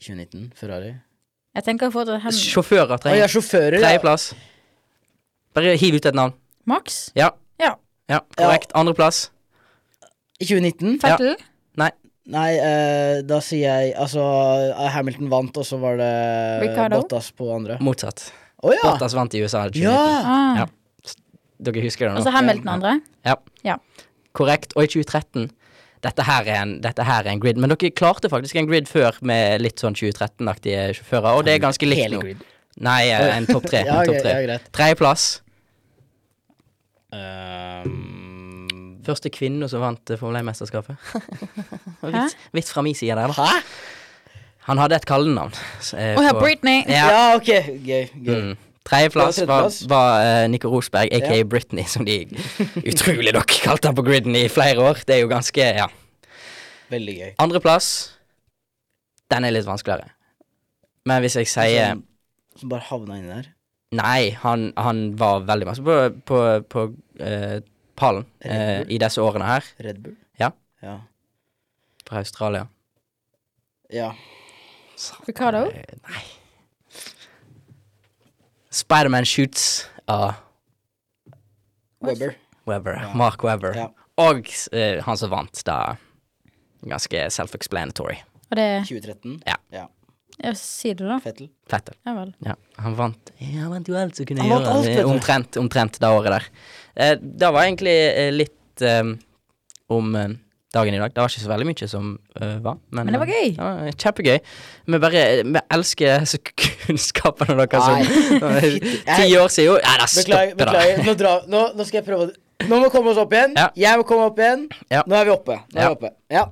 S5: 2019. Ferrari.
S6: Jeg tenker fortsatt hen...
S4: Sjåfører
S5: Å ja,
S4: trenger
S5: sjåfører. ja.
S4: Tredjeplass. Bare hiv ut et navn.
S6: Max?
S4: Ja.
S6: Ja.
S4: Ja, korrekt. Andreplass.
S5: I 2019?
S6: Fettel?
S4: Nei.
S5: Nei, eh, da sier jeg Altså, Hamilton vant, og så var det
S6: Ricardo?
S5: Bottas på andre.
S4: Motsatt.
S5: Å ja!
S4: Bottas vant i USA. i 2019.
S5: Ja!
S6: Ah.
S4: Ja. Dere husker det
S6: Og så
S4: nå?
S6: Hamilton andre?
S4: Ja.
S6: Ja.
S4: Korrekt. Og i 2013 dette her, er en, dette her er en grid, men dere klarte faktisk en grid før med litt sånn 2013-aktige sjåfører, og det er ganske likt
S5: Hele
S4: nå.
S5: grid.
S4: Nei, eh, en topp tre.
S5: (laughs) Ja,
S4: en topp
S5: ok,
S4: tre.
S5: ja, greit.
S4: Tredjeplass.
S5: Ehm,
S4: Første kvinne som vant eh, Formel
S6: (laughs)
S4: 1-mesterskapet. Vits, vits fra min side der, da.
S5: Hæ?
S4: Han hadde et kallenavn. s- eh,
S6: Å ja,
S4: på-
S6: Britney!
S5: Ja,
S4: Ja.
S5: ok. Gøy. gøy.
S4: Mm. Tredjeplass
S5: Ja,
S4: var,
S5: tredjeplass.
S4: var eh, Nico Rosberg, aka
S5: Ja.
S4: Britney, som de utrolig nok kalte han på griden i flere år. Det er jo ganske Ja.
S5: Veldig gøy.
S4: Andreplass, den er litt vanskeligere. Men hvis jeg sier
S5: Som, Altså,
S4: eh.
S5: som bare havna inni der.
S4: Nei, han, han var veldig masse på, på, på eh, pallen eh, i disse årene her,
S5: Red Bull.
S4: Ja.
S5: Ja.
S4: fra Australia.
S5: ja.
S6: Ricardo?
S4: Eh, Nei. Spiderman Shoots av
S5: Webber.
S4: Webber. Mark Webber.
S5: Ja.
S4: Og eh, han som vant, da. Ganske self-explanatory.
S6: Og det
S5: 2013.
S4: Ja.
S6: Ja, si det, da.
S5: Fettel.
S4: Fettel.
S6: Ja vel.
S4: Ja, han vant ja, Han vant jo alt som kunne
S5: Han vant
S4: gjøre
S5: alt,
S4: det,
S5: vet du.
S4: omtrent, omtrent det året der. Eh, det var egentlig eh, litt eh, om eh, dagen i dag. Det var ikke så veldig mye som eh, var. Men,
S6: det var
S4: eh,
S6: gøy.
S4: det var kjempegøy. Vi bare Vi elsker disse kunnskapene deres som
S5: (laughs)
S4: Ti år siden jo Nei, da
S5: Beklager.
S4: stopper det.
S5: beklager. Nå, dra, nå, nå skal jeg prøve å Nå må vi komme oss opp igjen.
S4: Ja.
S5: Jeg må komme opp igjen.
S4: Ja.
S5: Nå er vi oppe. Nå er
S4: Ja.
S5: vi oppe. Ja.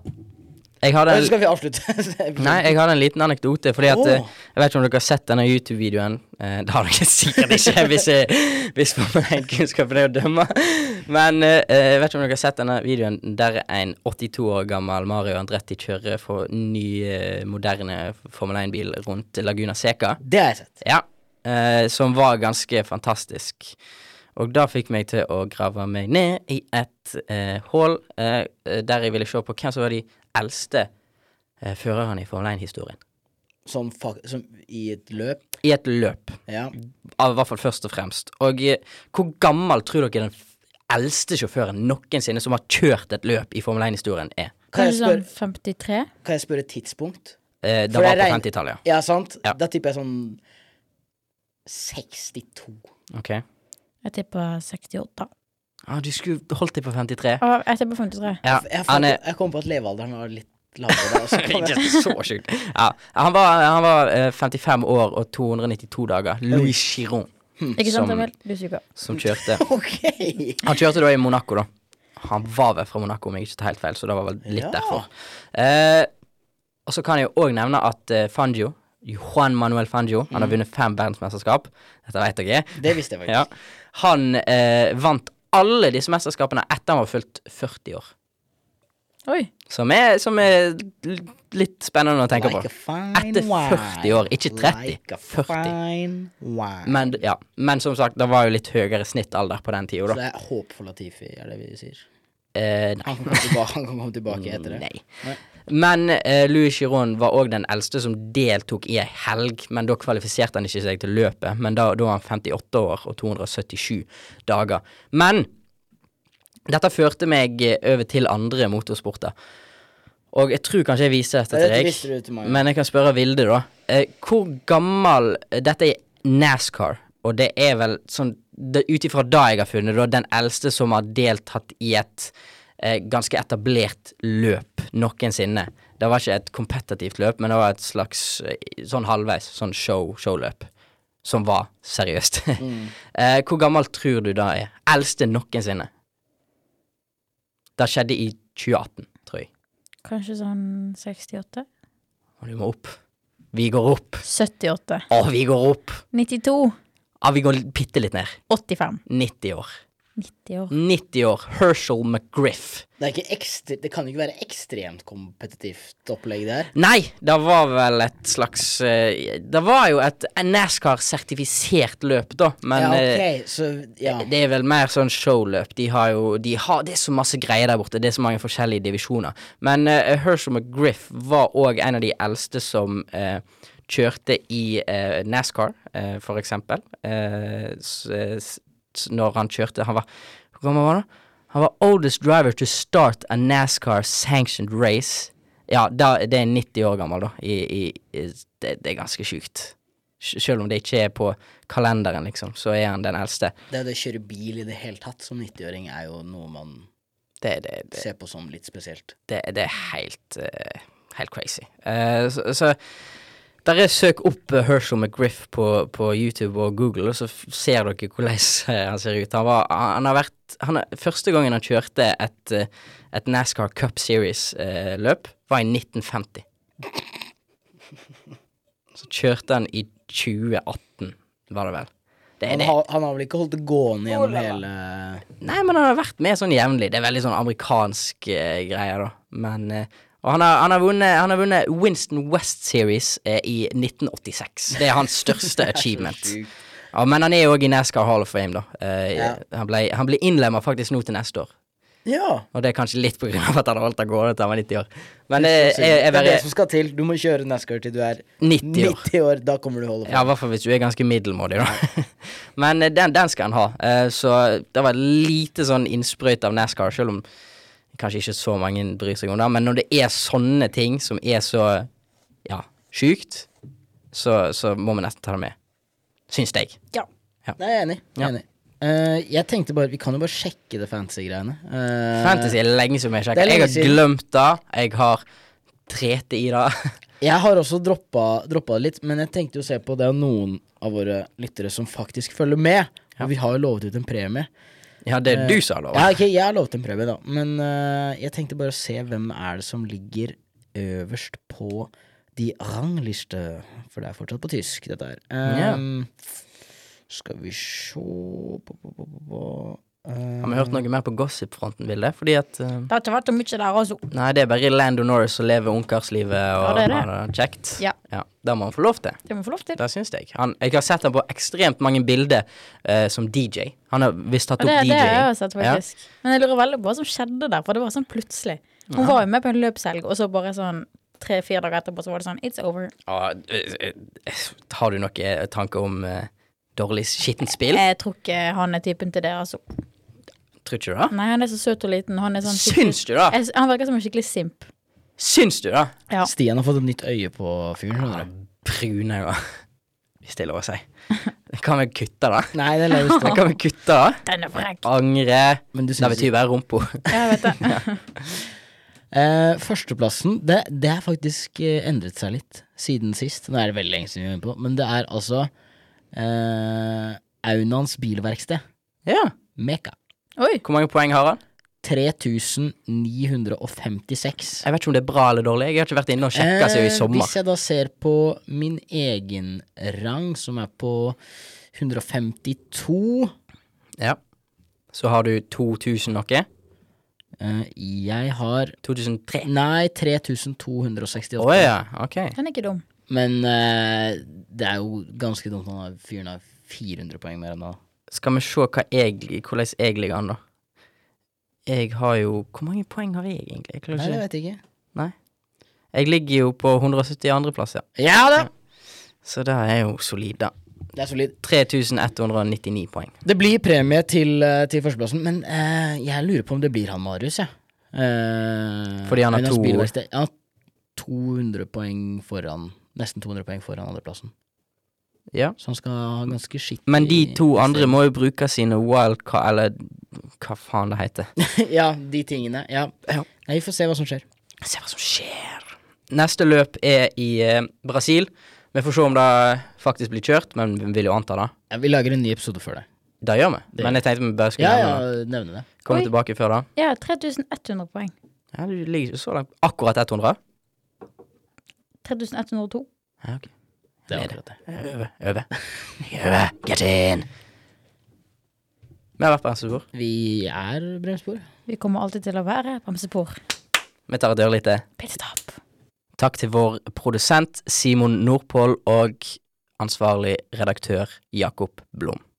S4: Jeg hadde
S5: Og så
S4: en,
S5: skal vi avslutte. (laughs)
S4: nei, jeg hadde en liten anekdote, fordi at
S5: Åh.
S4: eh, Jeg vet ikke om dere har sett denne YouTube-videoen. Eh, det har dere sikkert ikke, (laughs) hvis, jeg, hvis Formel 1-kunnskapen er å dømme. Men eh, jeg vet ikke om dere har sett denne videoen der en 82 år gammel Mario Andretti kjører for ny, eh, moderne Formel 1-bil rundt Laguna Seca.
S5: Det har jeg sett.
S4: Ja. Eh, som var ganske fantastisk. Og da fikk meg til å grave meg ned i et eh, hull eh, der jeg ville se på hvem som var de eldste eh, førerne i Formel 1-historien.
S5: Som, fa- som i et løp.
S4: I et løp.
S5: Ja.
S4: Av, I hvert fall først og fremst. Og eh, hvor gammel tror dere den f- eldste sjåføren noensinne som har kjørt et løp i Formel 1-historien, er?
S5: Kan jeg
S6: Kanskje
S5: spørre
S6: sånn 53?
S5: Kan jeg spørre et tidspunkt?
S4: Eh,
S5: For
S4: det var
S5: jeg
S4: på
S5: regner-
S4: 50-tallet,
S5: Ja, sant?
S4: Ja.
S5: Da tipper jeg sånn 62.
S4: ja. Ok.
S6: Jeg tipper 68.
S4: Ah, du skulle holdt deg på 53.
S6: Å, jeg tipper 53.
S4: Ja,
S5: Jeg,
S4: han
S5: fant,
S4: er
S5: jeg kom på at levealderen var litt lavere. da, og så
S4: (laughs)
S5: kom jeg-
S4: Ikke så sjukt. Ja, han var, han var eh, 55 år og 292 dager. Louis Chiron
S6: Ikke sant,
S4: Som-
S6: Emil? Du suger.
S4: som kjørte.
S5: Ok!
S4: Han kjørte da i Monaco, da. Han var vel fra Monaco, om jeg ikke tar helt feil, så det var vel litt
S5: Ja.
S4: derfor. Eh, og så kan jeg jo òg nevne at eh, Fangio, Juan Manuel Fangio, han har vunnet fem verdensmesterskap. Dette vet dere.
S5: Det visste jeg faktisk.
S4: Ja. Han eh, vant alle disse mesterskapene etter han var fylt 40 år.
S6: Oi.
S4: Som er, som er l- litt spennende å tenke på.
S5: Like a fine
S4: Etter 40 år, ikke 30.
S5: Like a
S4: 40.
S5: fine wine.
S4: Men, ja. Men som sagt, det var jo litt høyere snittalder på den tida,
S5: Så det
S4: da.
S5: er håp for Latifi, er det vi sier.
S4: Eh, nei.
S5: Han kan komme tilbake, han kan komme tilbake etter det.
S4: Nei. Men eh, Louis Giron var òg den eldste som deltok i ei helg, men da kvalifiserte han ikke seg til løpet. Men da, da var han 58 år og 277 dager. Men dette førte meg eh, over til andre motorsporter. Og jeg tror kanskje jeg viser dette
S5: Dette
S4: til deg.
S5: visste du til meg.
S4: Men jeg kan spørre Vilde, da. Eh, hvor gammel eh, Dette er NASCAR, og det er vel sånn Ut ifra det jeg har funnet, da, den eldste som har deltatt i et eh, ganske etablert løp noensinne. Det var ikke et kompetitivt løp, men det var et slags eh, sånn halvveis, sånn show, showløp. Som var seriøst. (laughs) eh, hvor gammel tror du det er? Eldste noensinne. Det skjedde i 2018, tror jeg.
S6: Kanskje sånn 68?
S4: Og du må opp. Vi går opp.
S6: 78.
S4: Å, vi går opp.
S6: 92.
S4: Ja, vi går bitte litt ned.
S6: 85.
S4: 90 år.
S6: 90 år.
S4: 90 år. Herschel McGriff.
S5: Det, er ikke ekstre, det kan jo ikke være ekstremt kompetitivt opplegg, det her.
S4: Nei, det var vel et slags eh, Det var jo et NASCAR-sertifisert løp, da, men
S5: ja,
S4: eh,
S5: ok, så ja.
S4: Det er vel mer sånn showløp. De har jo de har, Det er så masse greier der borte. Det er så mange forskjellige divisjoner. Men eh, Herschel McGriff var òg en av de eldste som eh, kjørte i eh, NASCAR, eh, for eksempel. Eh, s, s, s- når han kjørte Han var Hvor gammel var han? da? Han var oldest driver to start a NASCAR-sanctioned race. Ja, da, det er 90 år gammel, da. I, i, i, det, det er ganske sjukt. Sj- Selv om det ikke er på kalenderen, liksom, så er han den eldste.
S5: Det er jo det å kjøre bil i det hele tatt som 90-åring er jo noe man
S4: Det, det, det,
S5: ser på som litt spesielt.
S4: det, det er helt, eh, helt crazy. Eh, så så der er søk opp eh, Herschel McGriff på, på YouTube og Google, og så f- ser dere hvordan eh, han ser ut. Han var, han har vært, han, er- første gangen han kjørte et, eh, et NASCAR Cup Series-løp, var i 1950. Så kjørte han i 2018, var det vel. Det,
S5: Han
S4: det,
S5: har, han har vel ikke holdt det gående gjennom hele
S4: Nei, men han har vært med sånn jevnlig. Det er veldig sånn amerikansk eh, greie, da. Men eh, Og han har, han, har vunnet, han har vunnet Winston West Series eh, i 1986. Det er hans
S5: (laughs)
S4: største achievement.
S5: sjukt.
S4: Ja, men han er jo òg i NASCAR Hall of Fame, da. Eh,
S5: Ja.
S4: Han ble, han ble innlemma faktisk nå til neste år.
S5: Ja.
S4: Og det er kanskje litt på grunn av at han har holdt av gårde til han var 90 år. Men det
S5: Det
S4: er, er,
S5: er
S4: bare
S5: det som skal til. Du må kjøre NASCAR til du er
S4: 90 år.
S5: 90 år. Da kommer du holde på.
S4: Ja, i hvert fall hvis du er ganske middelmådig, da. (laughs) Men eh, den, den skal han ha. Eh, Så det var lite sånn innsprøyt av NASCAR, selv om kanskje ikke så mange bryr seg om det. Men når det er sånne ting som er så ja, sjukt, så, så må vi nesten ta det med. Syns jeg.
S5: Nei, jeg er enig. Jeg
S4: Ja.
S5: er enig. Eh, jeg tenkte bare, Vi kan jo bare sjekke det fantasy-greiene. Eh,
S4: Fantasy er lenge siden jeg
S5: det er
S4: sjekker. Jeg
S5: lenge
S4: har
S5: siden.
S4: glemt det. Jeg har trete i det. (laughs)
S5: Jeg har også droppa, droppa det litt, men jeg tenkte jo å se på det er jo noen av våre lyttere som faktisk følger med. Og vi har jo lovet ut en premie.
S4: Ja, det
S5: Eh,
S4: du sa, da.
S5: Ja, ok, Jeg har lovet en premie, da. Men eh, jeg tenkte bare å se hvem er det som ligger øverst på de rangliste. For det er fortsatt på tysk, dette her. Ehm, Skal vi sjå på, på, på, på, på.
S4: Har vi hørt noe mer på gossip-fronten, Vilde? Fordi at eh,
S6: Det har ikke vært så mye der, altså.
S4: Nei, det er bare Lando Norris som lever ungkarslivet og
S6: Ja, det er det.
S4: har det kjekt.
S6: Ja.
S4: ja. Det må han få lov til.
S6: Det må vi få lov til.
S4: Det syns jeg. Han, jeg har sett han på ekstremt mange bilder eh, som DJ. Han har visst tatt
S6: Og det,
S4: opp
S6: det har jeg
S4: DJ.
S6: også sett, faktisk. Men jeg lurer veldig på hva som skjedde der, for det var sånn plutselig. Hun var jo med på en løpshelg, og så bare sånn tre-fire dager etterpå så var det sånn It's over.
S4: Ja, eh, eh, har du noen tanker om eh, dårlig skittent spill?
S6: Jeg tror ikke han er typen til det, altså.
S4: Tror ikke du det?
S6: Nei, han er så søt og liten. Han er sånn skikkelig-
S4: Syns du det?
S6: Jeg, han virker som en skikkelig simp.
S4: Syns du det?
S6: Ja.
S5: Eh, Stian har fått et nytt øye på fyren. skjønner du.
S4: Brune øyne, (laughs) hvis det er lov å si.
S6: (laughs)
S4: Kan vi kutte det?
S5: Nei, det er (laughs) løst.
S4: Kan vi kutte det?
S6: Den er
S4: Ah.
S6: frekk.
S4: Angre.
S5: Men du
S4: Det
S5: syns
S4: betyr bare rumpa.
S6: Jeg vet det.
S5: Eh, førsteplassen, det, det har faktisk eh, endret seg litt siden sist. Nå er det veldig lenge siden vi var inne på, men det er altså eh, Aunans bilverksted,
S4: Ja.
S5: Meka.
S6: Oi.
S4: Hvor mange poeng har han?
S5: 3956.
S4: Jeg vet ikke om det er bra eller dårlig. Jeg har ikke vært inne og sjekka seg i
S5: Eh,
S4: sommer.
S5: Hvis jeg da ser på min egen rang, som er på 152
S4: Ja. Så har du 2000 noe.
S5: eh, Jeg har
S4: 2003.
S5: Nei, 3268.
S4: Å ja, ok.
S6: Den er ikke dum.
S5: Men eh, det er jo ganske dumt når han har- fyren har 400 poeng mer enn han.
S4: Skal vi se hva jeg, hvordan jeg ligger an, da. Jeg har jo Hvor mange poeng har jeg egentlig? Jeg, klarer
S5: Nei,
S4: ikke.
S5: det vet jeg ikke.
S4: jeg ligger jo på 172. plass, ja.
S5: Ja da!
S4: Så det er jo solid, da.
S5: Det er solid.
S4: 3199 poeng.
S5: Det blir premie til, eh, til førsteplassen, men eh, jeg lurer på om det blir han Marius, jeg. Eh,
S4: Fordi han har
S5: Aunans
S4: to-
S5: bilverksted. Han har 200 poeng foran Nesten 200 poeng foran andreplassen.
S4: Ja.
S5: Så han skal ha ganske skittig
S4: Men de to andre må jo bruke sine wildcard, eller hva faen det heter.
S5: (laughs) Ja, de tingene. Ja.
S4: Ja.
S5: Nei, vi får se hva som skjer.
S4: Se hva som skjer. Neste løp er i eh, Brasil. Vi får se om det faktisk blir kjørt, men vi vil jo anta det.
S5: Ja, vi lager en ny episode for det.
S4: Det gjør vi.
S5: Det-
S4: Men jeg tenkte vi bare skulle
S5: Ja, ja,
S4: nevne det.
S5: nevne det.
S4: komme
S6: Oi.
S4: tilbake før da.
S6: Ja, 3100 poeng.
S4: Ja, du ligger ikke så langt. Akkurat 100?
S6: 3102.
S4: Ja, ok.
S5: Det er
S4: Nede.
S5: akkurat det.
S4: Øve. Øve. Øve. Get in! Vi har vært bremsespor.
S5: Vi er bremsspor.
S6: Vi kommer alltid til å være bremsepor.
S4: Vi tar et ørlite
S6: Pitstop.
S4: eh. takk til vår produsent Simon Nordpål og ansvarlig redaktør Jakob Blom.